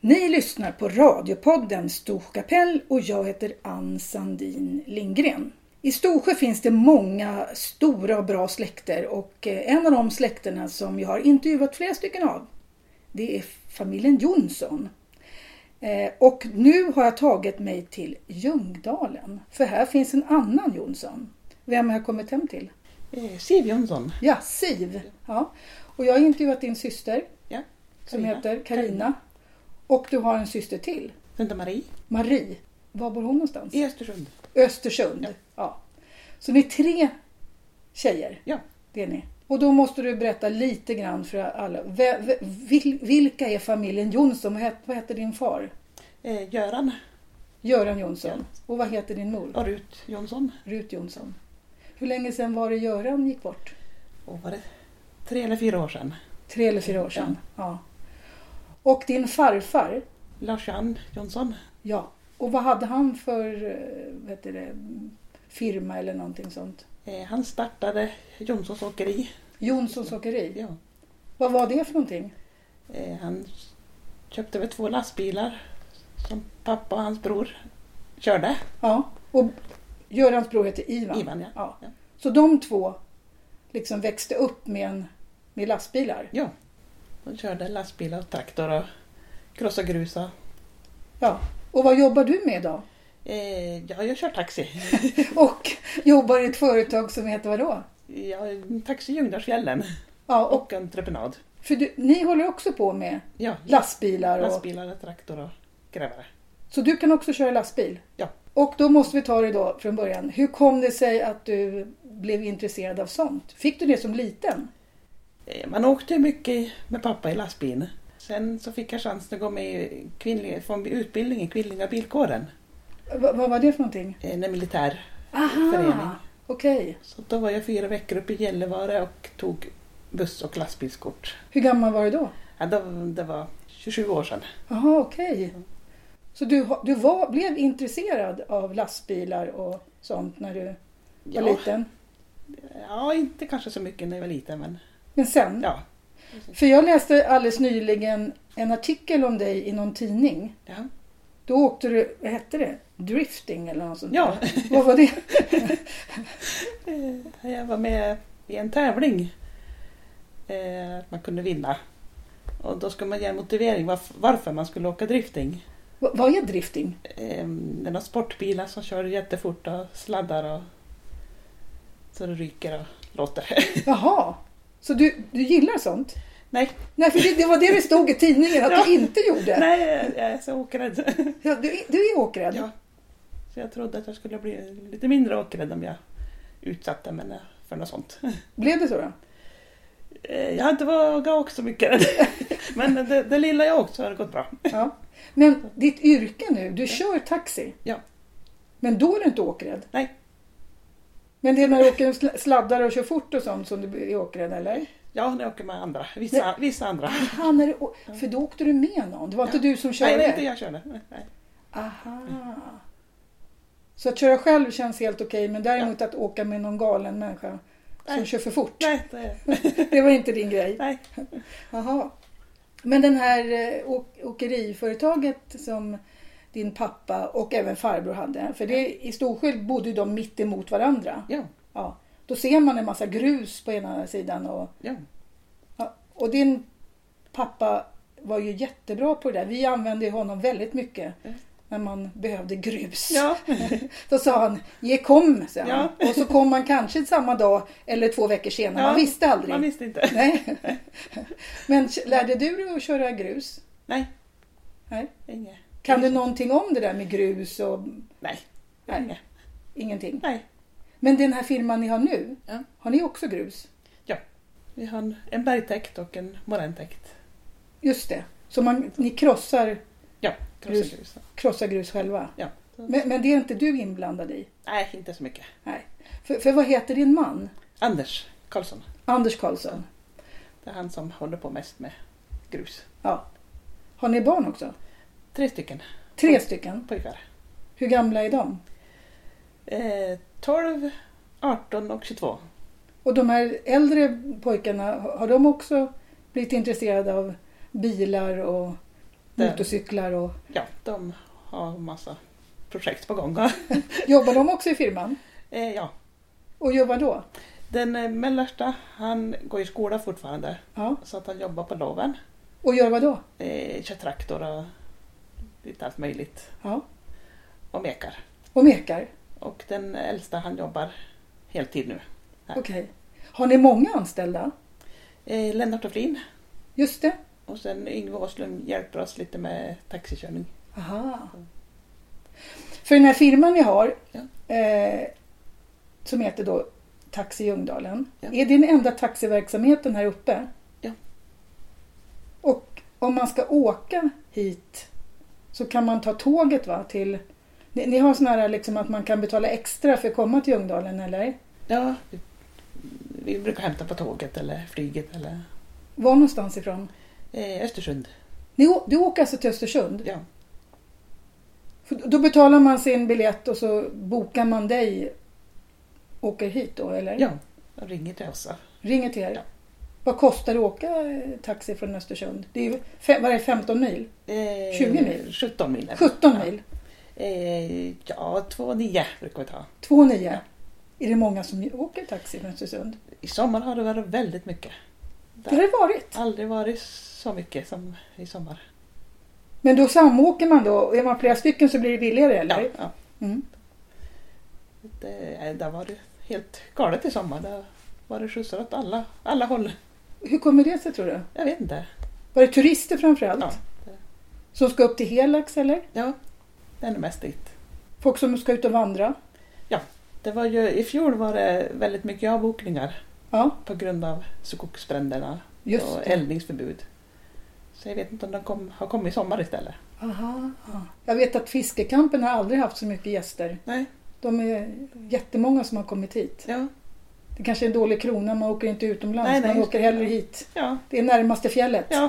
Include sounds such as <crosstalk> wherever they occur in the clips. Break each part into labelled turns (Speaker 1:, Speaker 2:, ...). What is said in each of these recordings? Speaker 1: Ni lyssnar på radiopodden Storsjökapell och jag heter Ann Sandin Lindgren. I Storsjö finns det många stora och bra släkter och eh, en av de släkterna som jag har intervjuat flera stycken av det är familjen Jonsson. Eh, Och nu har jag tagit mig till Ljungdalen för här finns en annan Jonsson. Vem har jag kommit hem till?
Speaker 2: Eh, Siv Jönsson.
Speaker 1: Ja, Siv. Ja. Och jag har intervjuat din syster
Speaker 2: Ja.
Speaker 1: som
Speaker 2: Carina.
Speaker 1: heter Karina. Och du har en syster till,
Speaker 2: Santa Marie
Speaker 1: Marie. Var bor hon någonstans?
Speaker 2: i Östersund.
Speaker 1: Östersund. Ja. Så ni är tre tjejer.
Speaker 2: Ja.
Speaker 1: Det är ni. Och då måste du berätta lite grann för alla. Ve- ve- vil- Vilka är familjen Jonsson? Vad het- Vad heter din far?
Speaker 2: Eh, Göran
Speaker 1: Göran Jonsson. Och vad heter din mor?
Speaker 2: och Rut Jönsson.
Speaker 1: Rut Jonsson. Hur länge sedan var det Göran gick bort?
Speaker 2: Och var det tre eller fyra år sedan?
Speaker 1: Tre eller fyra år sedan? Ja. Och din farfar?
Speaker 2: Lars-Jan Jönsson.
Speaker 1: Ja. Och vad hade han för eh, vad heter det, firma eller någonting sånt?
Speaker 2: Eh, han startade Jonssons Åkeri.
Speaker 1: Jonssons Åkeri.
Speaker 2: Ja.
Speaker 1: Vad var det för någonting?
Speaker 2: Eh, han köpte väl två lastbilar som pappa och hans bror körde.
Speaker 1: Ja, och Görans bror heter Ivan.
Speaker 2: Ivan, ja.
Speaker 1: Ja.
Speaker 2: Ja.
Speaker 1: Så de två liksom växte upp med, en, med lastbilar.
Speaker 2: ja. De körde lastbilar och traktor och krossa grusa.
Speaker 1: Ja. Och vad jobbar du med idag?
Speaker 2: Eh, ja, jag kör taxi.
Speaker 1: <laughs> Och jobbar i ett företag som heter vadå?
Speaker 2: Ja, taxi i Ljungdalsfjällen
Speaker 1: Ja, och
Speaker 2: och entreprenad.
Speaker 1: för du, ni håller också på med
Speaker 2: Ja,
Speaker 1: lastbilar. Och,
Speaker 2: Lastbilar, traktor och grävare.
Speaker 1: så du kan också köra lastbil?
Speaker 2: Ja.
Speaker 1: Och då måste vi ta det då från början. Hur kom det sig att du blev intresserad av sånt? Fick du det som liten?
Speaker 2: Eh, Man åkte ju mycket med pappa i lastbilen. Sen så fick jag chansen att gå med i kvinnliga, få en utbildning i Kvinnliga bilkåren.
Speaker 1: Va, vad var det för någonting?
Speaker 2: eh, En militär. Förening.
Speaker 1: Aha, okej.
Speaker 2: Så då var jag fyra veckor uppe i Gällivare och tog buss och lastbilskort.
Speaker 1: Hur gammal var du då?
Speaker 2: Ja, då, det var 27 år sedan.
Speaker 1: Jaha, okej. Så du, ha- du var, blev intresserad av lastbilar och sånt när du var
Speaker 2: Ja,
Speaker 1: liten?
Speaker 2: ja, inte kanske så mycket när jag var liten men
Speaker 1: Men sen?
Speaker 2: ja.
Speaker 1: För jag läste alldeles nyligen en artikel om dig i någon tidning.
Speaker 2: Ja,
Speaker 1: Då åkte du, vad hette det? Drifting eller något sånt
Speaker 2: ja.
Speaker 1: där. Vad var det?
Speaker 2: Eh, jag var med i en tävling. eh, Att man kunde vinna. Och då skulle man ge en motivering varf- varför man skulle åka drifting.
Speaker 1: Va- Vad är drifting?
Speaker 2: Eh, Det är några sportbilar som kör jättefort och sladdar och så det ryker och låter. <laughs>
Speaker 1: Jaha, så du, du gillar sånt?
Speaker 2: Nej.
Speaker 1: Nej, för det, det var det det stod i tidningen att
Speaker 2: Ja.
Speaker 1: du inte gjorde.
Speaker 2: Nej, jag är så åkrädd.
Speaker 1: Ja, du, du är åkrädd.
Speaker 2: Ja. Så jag trodde att jag skulle bli lite mindre åkrädd om jag utsatte mig eh, för något sånt.
Speaker 1: Blev det så då?
Speaker 2: Eh, Jag har inte vågat åka så mycket. <laughs> Men det, det lilla jag åkt så har det gått bra.
Speaker 1: Ja. <laughs> Men ditt yrke nu, du kör taxi.
Speaker 2: Ja.
Speaker 1: Men då är du inte åkrädd?
Speaker 2: Nej.
Speaker 1: Men det är när du åker sl- sladdar och kör fort och sånt som du är åkrädd eller?
Speaker 2: Ja, när jag åker med andra. Vissa, vissa andra.
Speaker 1: Aha, när du, å- för då åkte du med någon? Det var inte
Speaker 2: Ja.
Speaker 1: du som körde?
Speaker 2: Nej, det är inte Mm. jag körde. Nej.
Speaker 1: Aha. Så att köra själv känns helt okej men däremot att åka med någon galen människa som
Speaker 2: Nej.
Speaker 1: kör för fort,
Speaker 2: Nej, det,
Speaker 1: det var inte din grej?
Speaker 2: nej.
Speaker 1: Aha. Men den här eh, å- åkeriföretaget som din pappa och även farbror hade. För det, i Storsjö bodde ju de mitt emot varandra.
Speaker 2: Ja,
Speaker 1: Ja. Då ser man en massa grus på ena sidan. Och,
Speaker 2: ja.
Speaker 1: ja. och din pappa var ju jättebra på det där. Vi använde ju honom väldigt mycket
Speaker 2: Mm.
Speaker 1: när man behövde grus.
Speaker 2: ja.
Speaker 1: Då sa han, ge kom, sa han.
Speaker 2: Ja.
Speaker 1: Och så kom man kanske samma dag eller två veckor senare. Man
Speaker 2: Ja,
Speaker 1: visste aldrig.
Speaker 2: Man visste inte.
Speaker 1: Nej. <laughs> Men k- lärde du dig att köra grus?
Speaker 2: Nej.
Speaker 1: Nej.
Speaker 2: Inget.
Speaker 1: Kan du någonting om det där med grus och
Speaker 2: Nej.
Speaker 1: Nej.
Speaker 2: Inget.
Speaker 1: ingenting?
Speaker 2: Nej.
Speaker 1: Men den här firman ni har nu,
Speaker 2: Ja.
Speaker 1: har ni också grus?
Speaker 2: Vi har en, en bergtäkt och en moräntäkt.
Speaker 1: Just det, så man, ni krossar, Grus.
Speaker 2: Krossa grus.
Speaker 1: krossar grus själva?
Speaker 2: Ja.
Speaker 1: Men, men det är inte du inblandad i?
Speaker 2: Nej, inte så mycket.
Speaker 1: För, för vad heter din man?
Speaker 2: Anders Karlsson.
Speaker 1: Anders Karlsson.
Speaker 2: Det är han som håller på mest med grus.
Speaker 1: Har ni barn också?
Speaker 2: Tre stycken
Speaker 1: Tre
Speaker 2: Mm.
Speaker 1: stycken.
Speaker 2: pojkar.
Speaker 1: Hur gamla är de?
Speaker 2: Eh, 12, 18 och 22.
Speaker 1: Och de här äldre pojkarna, har de också blivit intresserade av bilar och
Speaker 2: Det-
Speaker 1: Motorcyklar och...
Speaker 2: Ja, de har massa projekt på gång. <laughs>
Speaker 1: Jobbar de också i firman?
Speaker 2: Eh, ja.
Speaker 1: Och gör vad då?
Speaker 2: Den eh, mellersta, han går i skola fortfarande
Speaker 1: Ja.
Speaker 2: så att han jobbar på loven.
Speaker 1: Och gör vad då?
Speaker 2: Eh, kör traktor och lite allt möjligt
Speaker 1: Ja.
Speaker 2: och mekar.
Speaker 1: Och mekar?
Speaker 2: Och den äldsta, han jobbar heltid nu. Ja.
Speaker 1: Okej. Har ni många anställda?
Speaker 2: Eh, Lennart och Flin
Speaker 1: Just det.
Speaker 2: och sen Yngve Åslund hjälper oss lite med taxikörning.
Speaker 1: Aha. För den här firman ni har,
Speaker 2: Ja.
Speaker 1: eh, som heter då Taxi Ljungdalen.
Speaker 2: Ja.
Speaker 1: Är det den enda taxiverksamheten här uppe?
Speaker 2: Ja.
Speaker 1: Och om man ska åka hit så kan man ta tåget va? Till, ni, ni har sådana här liksom att man kan betala extra för att komma till Ljungdalen eller?
Speaker 2: Ja, vi, vi brukar hämta på tåget eller flyget eller
Speaker 1: Var någonstans ifrån?
Speaker 2: eh, Östersund.
Speaker 1: Ni, å- du åker alltså till Östersund?
Speaker 2: Ja.
Speaker 1: För Då betalar man sin biljett och så bokar man dig och åker hit då eller?
Speaker 2: Ja, de ringer till oss.
Speaker 1: Ringer till er?
Speaker 2: Ja.
Speaker 1: Vad kostar det att åka eh, taxi från Östersund? Det är ju fe- vad är det, 15 mil?
Speaker 2: Eh,
Speaker 1: 20 mil?
Speaker 2: 17 mil. är det.
Speaker 1: 17
Speaker 2: Ja.
Speaker 1: mil?
Speaker 2: Eh, ja, 2,9 brukar vi ta.
Speaker 1: 2,9? Är det många som åker taxi från Östersund?
Speaker 2: I sommar har det varit väldigt mycket.
Speaker 1: Det har det varit.
Speaker 2: Aldrig varit så mycket som i sommar.
Speaker 1: Men då samåker man då? Är man flera stycken så blir det billigare eller?
Speaker 2: Ja, ja.
Speaker 1: Mm.
Speaker 2: Det, eh, det har varit helt galet i sommar. Det har varit skjutsar åt alla, alla håll.
Speaker 1: Hur kommer det sig tror du?
Speaker 2: Jag vet inte.
Speaker 1: Var det turister framförallt?
Speaker 2: Ja.
Speaker 1: Som ska upp till Helax eller?
Speaker 2: Ja, det är nog mest dit.
Speaker 1: Folk som ska ut och vandra?
Speaker 2: Det var ju, I fjol var det väldigt mycket avbokningar
Speaker 1: Ja,
Speaker 2: på grund av skogsbränderna
Speaker 1: just
Speaker 2: och
Speaker 1: det.
Speaker 2: eldningsförbud. Så jag vet inte om de kom, har kommit i sommar istället.
Speaker 1: Aha. Jag vet att fiskekampen har aldrig haft så mycket gäster.
Speaker 2: Nej,
Speaker 1: De är jättemånga som har kommit hit.
Speaker 2: ja,
Speaker 1: Det kanske är en dålig krona, man åker inte utomlands,
Speaker 2: Nej, nej,
Speaker 1: man
Speaker 2: just
Speaker 1: åker
Speaker 2: det.
Speaker 1: hellre hit.
Speaker 2: ja,
Speaker 1: Det är närmaste fjället.
Speaker 2: ja.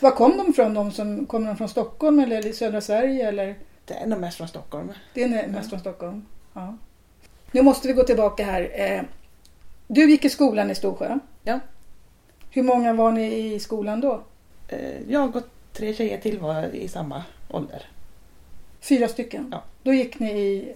Speaker 1: Var kom de från? De som, kom de från Stockholm eller i södra Sverige? Eller?
Speaker 2: Det är nog mest från Stockholm.
Speaker 1: Det är nä- mest från Stockholm. Ja. Nu måste vi gå tillbaka här. Eh, Du gick i skolan i Storsjö.
Speaker 2: Ja.
Speaker 1: Hur många var ni i skolan då?
Speaker 2: Eh, Jag och tre tjejer till var i samma ålder.
Speaker 1: Fyra stycken.
Speaker 2: Ja.
Speaker 1: Då gick ni i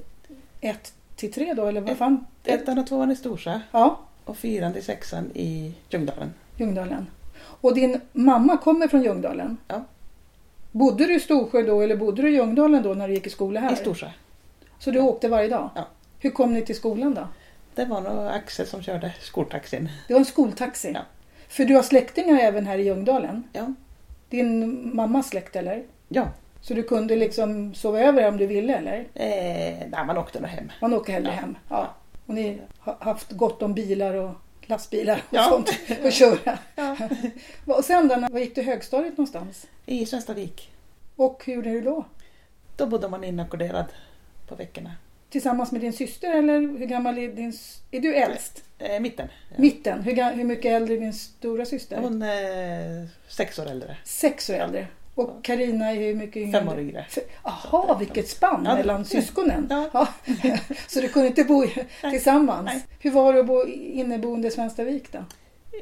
Speaker 1: ett till tre då, eller vad
Speaker 2: Ett-
Speaker 1: fan?
Speaker 2: Ettan och tvåan i Storsjö
Speaker 1: Ja,
Speaker 2: och fyran till sexan i Ljungdalen.
Speaker 1: Ljungdalen. Och din mamma kommer från Ljungdalen?
Speaker 2: Ja.
Speaker 1: Bodde du i Storsjö då eller bodde du i Ljungdalen då när du gick i skola här?
Speaker 2: I Storsjö.
Speaker 1: Så du åkte varje dag?
Speaker 2: Ja.
Speaker 1: Hur kom ni till skolan då?
Speaker 2: Det var nog Axel som körde skoltaxin.
Speaker 1: Det var en skoltaxi?
Speaker 2: Ja.
Speaker 1: För du har släktingar även här i Ljungdalen?
Speaker 2: Ja.
Speaker 1: Din mammas släkt eller?
Speaker 2: Ja,
Speaker 1: Så du kunde liksom sova över om du ville eller?
Speaker 2: eh, nej, man åkte nog hem.
Speaker 1: Man åker hellre
Speaker 2: Ja.
Speaker 1: hem? Ja. Och ni har haft gott om bilar och lastbilar och
Speaker 2: Ja.
Speaker 1: sånt att köra?
Speaker 2: Ja.
Speaker 1: <laughs> Och sen då, var gick du högstadiet någonstans?
Speaker 2: I Svenstavik.
Speaker 1: Och hur gjorde du då?
Speaker 2: Då bodde man inackorderad på veckorna.
Speaker 1: Tillsammans med din syster eller hur gammal är din... s- Är du äldst?
Speaker 2: Eh, mitten. Ja.
Speaker 1: Mitten? Hur, ga- hur mycket äldre är din stora syster?
Speaker 2: Hon eh, sex år äldre.
Speaker 1: Sex år äldre.
Speaker 2: Ja.
Speaker 1: Och Karina är hur mycket yngre?
Speaker 2: Fem år yngre.
Speaker 1: F- Jaha, vilket spann
Speaker 2: Ja.
Speaker 1: mellan syskonen.
Speaker 2: Ja.
Speaker 1: <laughs> Så du kunde inte bo i- tillsammans.
Speaker 2: Nej.
Speaker 1: Hur var det att bo inneboende i Svenstavik då?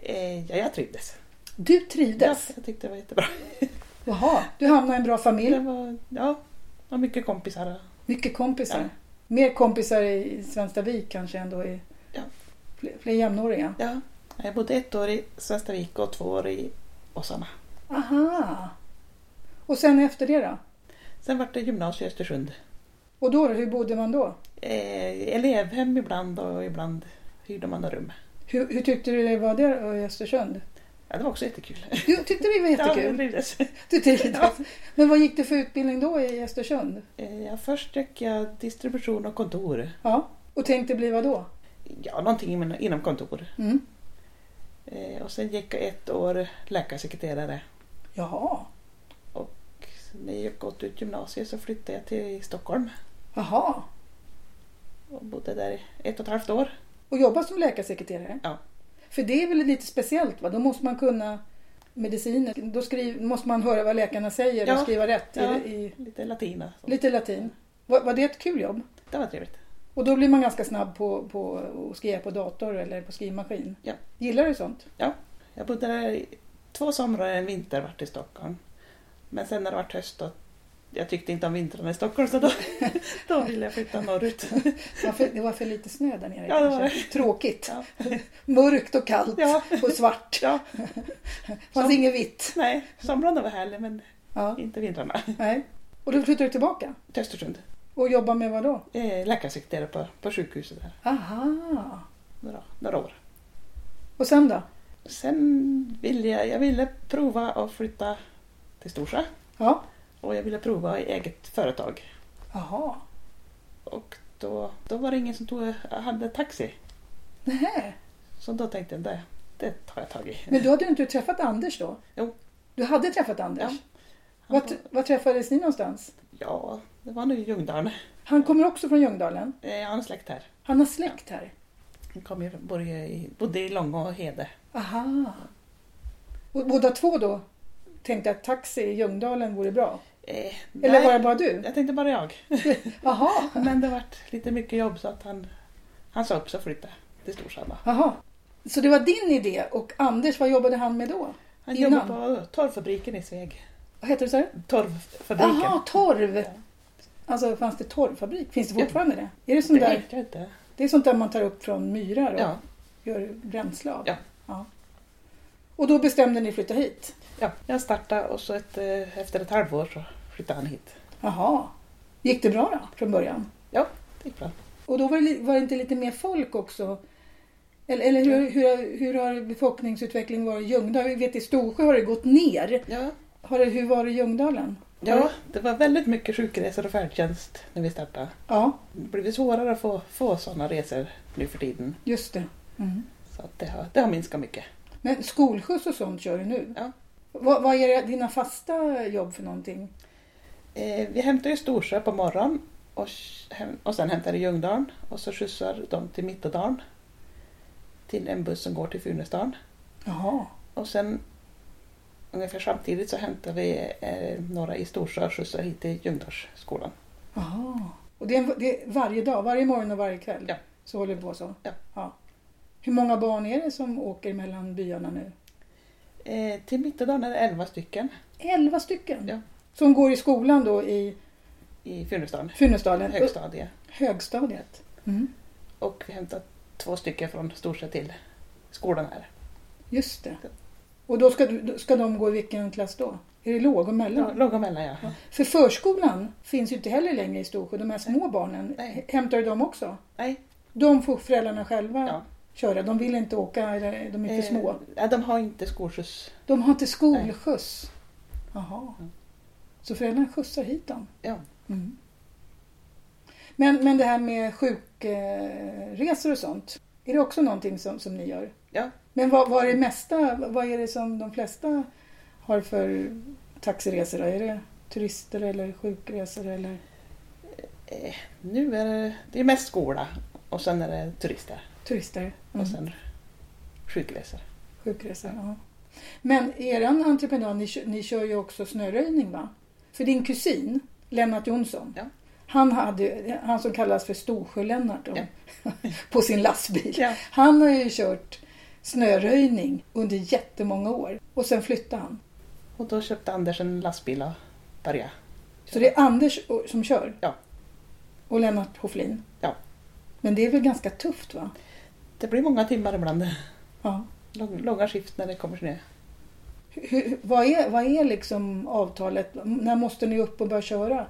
Speaker 2: Eh, ja, jag trivdes.
Speaker 1: Du
Speaker 2: Ja,
Speaker 1: trivdes?
Speaker 2: jag tyckte det var jättebra.
Speaker 1: Jaha, du hamnade i en bra familj.
Speaker 2: Det var, ja, det var mycket kompisar. och-
Speaker 1: Mycket kompisar.
Speaker 2: Ja.
Speaker 1: Mer kompisar i Svenstavik kanske än då i...
Speaker 2: Ja.
Speaker 1: Fler, fler jämnåriga.
Speaker 2: Ja, jag bodde ett år i Svenstavik och två år i Åsarna.
Speaker 1: Aha! Och sen efter det då?
Speaker 2: Sen var det gymnasium i Östersund.
Speaker 1: Och då, då, hur bodde man då?
Speaker 2: Eh, elevhem ibland och ibland hyrde man några rum.
Speaker 1: Hur, hur tyckte du det var där eh, i Östersund?
Speaker 2: Ja, det var också jättekul.
Speaker 1: Du tyckte det var
Speaker 2: <laughs> Ja, jag
Speaker 1: jättekul.
Speaker 2: trivdes.
Speaker 1: Du trivdes.
Speaker 2: <laughs> Ja.
Speaker 1: Men vad gick du för utbildning då i Östersund?
Speaker 2: Eh, ja, först gick jag distribution och kontor.
Speaker 1: Ja. Och tänkte bli vad då?
Speaker 2: Ja, någonting inom- inom kontor.
Speaker 1: Mm.
Speaker 2: Eh, och sen gick jag ett år läkarsekreterare.
Speaker 1: Jaha.
Speaker 2: Och när jag gått ut gymnasiet så flyttade jag till Stockholm
Speaker 1: Jaha.
Speaker 2: och bodde där i ett och ett halvt år.
Speaker 1: Och jobba som läkarsekreterare?
Speaker 2: Ja.
Speaker 1: För det är väl lite speciellt va? Då måste man kunna mediciner. Då skriv, måste man höra vad läkarna säger och
Speaker 2: Ja.
Speaker 1: skriva rätt
Speaker 2: Ja.
Speaker 1: i, i
Speaker 2: Lite latina. Så.
Speaker 1: lite latin. Var, var det ett kul jobb?
Speaker 2: Det var trevligt.
Speaker 1: Och då blir man ganska snabb på, på att skriva på dator eller på skrivmaskin.
Speaker 2: Ja.
Speaker 1: Gillar du sånt?
Speaker 2: Jag bodde där i två somrar och en vinter vart i Stockholm. Men sen när det var höst då, jag tyckte inte om vintrarna i Stockholm så då, <laughs> då ville jag flytta norrut.
Speaker 1: <laughs> Det var för, det var för lite snö där nere.
Speaker 2: Ja, det var
Speaker 1: kanske. Tråkigt.
Speaker 2: Ja.
Speaker 1: Mörkt och kallt
Speaker 2: Ja,
Speaker 1: och svart.
Speaker 2: ja,
Speaker 1: fanns
Speaker 2: Som-
Speaker 1: inget vitt.
Speaker 2: nej, somrarna var härlig men
Speaker 1: Ja,
Speaker 2: inte vintrarna.
Speaker 1: nej. Och då flyttade du tillbaka
Speaker 2: Till Östersund,
Speaker 1: och jobbade med vad då?
Speaker 2: eh, läkarsekreterare på, på sjukhuset där
Speaker 1: Aha!
Speaker 2: några, några år.
Speaker 1: Och sen då?
Speaker 2: Sen ville jag, jag ville prova att flytta till Storsjö
Speaker 1: Ja.
Speaker 2: och jag ville prova i eget företag.
Speaker 1: Jaha.
Speaker 2: Och då, då var det ingen som tog, hade taxi.
Speaker 1: Nähä.
Speaker 2: Så då tänkte jag, det, det tar jag tag i.
Speaker 1: Men då hade du inte träffat Anders då?
Speaker 2: Jo.
Speaker 1: Du hade träffat Anders?
Speaker 2: Ja.
Speaker 1: Var, tr- var träffades ni någonstans?
Speaker 2: Ja, det var nu i Ljungdalen.
Speaker 1: Han kommer också från Ljungdalen.
Speaker 2: Eh, Han har släkt här.
Speaker 1: Han har släkt här.
Speaker 2: Han kom ju, bor ju i, bodde i Långå och Hede.
Speaker 1: Aha. Och båda två då tänkte att taxi i Ljungdalen vore bra?
Speaker 2: Eh,
Speaker 1: Eller
Speaker 2: nej,
Speaker 1: var det bara du?
Speaker 2: Jag tänkte bara jag.
Speaker 1: Jaha.
Speaker 2: Men det vart lite mycket jobb så att han, han sa upp sig och flyttade till Storsand. då.
Speaker 1: Jaha. Så det var din idé och Anders, vad jobbade han med då?
Speaker 2: Han
Speaker 1: Innan?
Speaker 2: jobbar på torvfabriken i Sveg.
Speaker 1: Vad heter det så? här?
Speaker 2: Torvfabriken.
Speaker 1: Jaha, torv.
Speaker 2: Ja.
Speaker 1: Alltså fanns det torvfabrik? Finns det
Speaker 2: Ja.
Speaker 1: fortfarande det? Är det
Speaker 2: Det
Speaker 1: sånt där?
Speaker 2: vet jag inte.
Speaker 1: Det är sånt där man tar upp från myrar och
Speaker 2: Ja,
Speaker 1: gör bränsle av?
Speaker 2: Ja.
Speaker 1: Och då bestämde ni flytta hit?
Speaker 2: ja. Jag startade och så ett, eh, efter ett halvår så flyttade han hit.
Speaker 1: Jaha. Gick det bra då från början?
Speaker 2: Det gick bra.
Speaker 1: Och då var det, li- var det inte lite mer folk också? Eller, eller hur, hur, hur har befolkningsutvecklingen varit i Ljungdalen? Vi vet i Storsjö har det gått ner.
Speaker 2: Ja.
Speaker 1: Har det, hur var det i Ljungdalen?
Speaker 2: ja, det var väldigt mycket sjukresor och färdtjänst när vi startade.
Speaker 1: Ja,
Speaker 2: Det har blivit svårare att få, få sådana resor nu för tiden.
Speaker 1: just det. Mm.
Speaker 2: Så att det, har, det har minskat mycket.
Speaker 1: Men skolskjuts och sånt kör du nu?
Speaker 2: Ja.
Speaker 1: Vad, vad är det- dina fasta jobb för någonting?
Speaker 2: Eh, vi hämtar ju Storsjö på morgonen och, sh- hem- och sen hämtar det Ljungdalen och så skjutsar de till Mittådalen till en buss som går till Funäsdalen.
Speaker 1: Jaha.
Speaker 2: Och sen ungefär samtidigt så hämtar vi eh, några i Storsjö och skjutsar hit till Ljungdalsskolan.
Speaker 1: Jaha. Och det är, en- det är varje dag, varje morgon och varje kväll?
Speaker 2: Ja.
Speaker 1: Så håller det på så?
Speaker 2: Ja.
Speaker 1: Hur många barn är det som åker mellan byarna nu?
Speaker 2: Eh, till Mittådalen är det 11 stycken
Speaker 1: Elva stycken?
Speaker 2: Ja.
Speaker 1: Som går i skolan då i
Speaker 2: i Funäsdalen,
Speaker 1: Funäsdalen?
Speaker 2: högstadiet.
Speaker 1: Högstadiet. Mm.
Speaker 2: Och vi hämtar två stycken från Storsjö till skolan här.
Speaker 1: Just det. Och då ska, du- då ska de gå i vilken klass då? Är det låg och mellan?
Speaker 2: Låg och mellan ja.
Speaker 1: För förskolan finns ju inte heller längre i Storsjö. De här små barnen,
Speaker 2: Nej.
Speaker 1: hämtar du dem också?
Speaker 2: Nej.
Speaker 1: De får föräldrarna själva
Speaker 2: Ja.
Speaker 1: köra. De vill inte åka, eller de är för
Speaker 2: Eh,
Speaker 1: små.
Speaker 2: ja, de har inte skolskjuts.
Speaker 1: De har inte skolskjuts. Jaha.
Speaker 2: Mm.
Speaker 1: Så föräldrarna skjutsar hit dem?
Speaker 2: Ja.
Speaker 1: Mm. Men, men det här med sjukresor och sånt, är det också någonting som, som ni gör?
Speaker 2: Ja.
Speaker 1: Men vad, vad är det mesta, vad är det som de flesta har för taxiresor? då? Är det turister eller sjukresor eller?
Speaker 2: Eh, nu är det, det är mest skola och sen är det turister
Speaker 1: Turister? Mm.
Speaker 2: och sen sjukresor.
Speaker 1: Sjukresor, ja. Men er entreprenör, ni, kö- ni kör ju också snöröjning va? För din kusin, Lennart Jonsson,
Speaker 2: Ja.
Speaker 1: han, hade, han som kallas för Storsjö-Lennart då, <laughs> på sin lastbil.
Speaker 2: Ja.
Speaker 1: Han har ju kört snöröjning under jättemånga år och sen flyttade han.
Speaker 2: Och då köpte Anders en lastbil och började.
Speaker 1: Så det är Anders och- som kör?
Speaker 2: Ja.
Speaker 1: Och Lennart Hoflin?
Speaker 2: Ja.
Speaker 1: Men det är väl ganska tufft va?
Speaker 2: Det blir många timmar ibland.
Speaker 1: Ja.
Speaker 2: Lång, långa skift när det kommer snö.
Speaker 1: Hur, vad, är, vad är liksom avtalet? När måste ni upp och börja köra?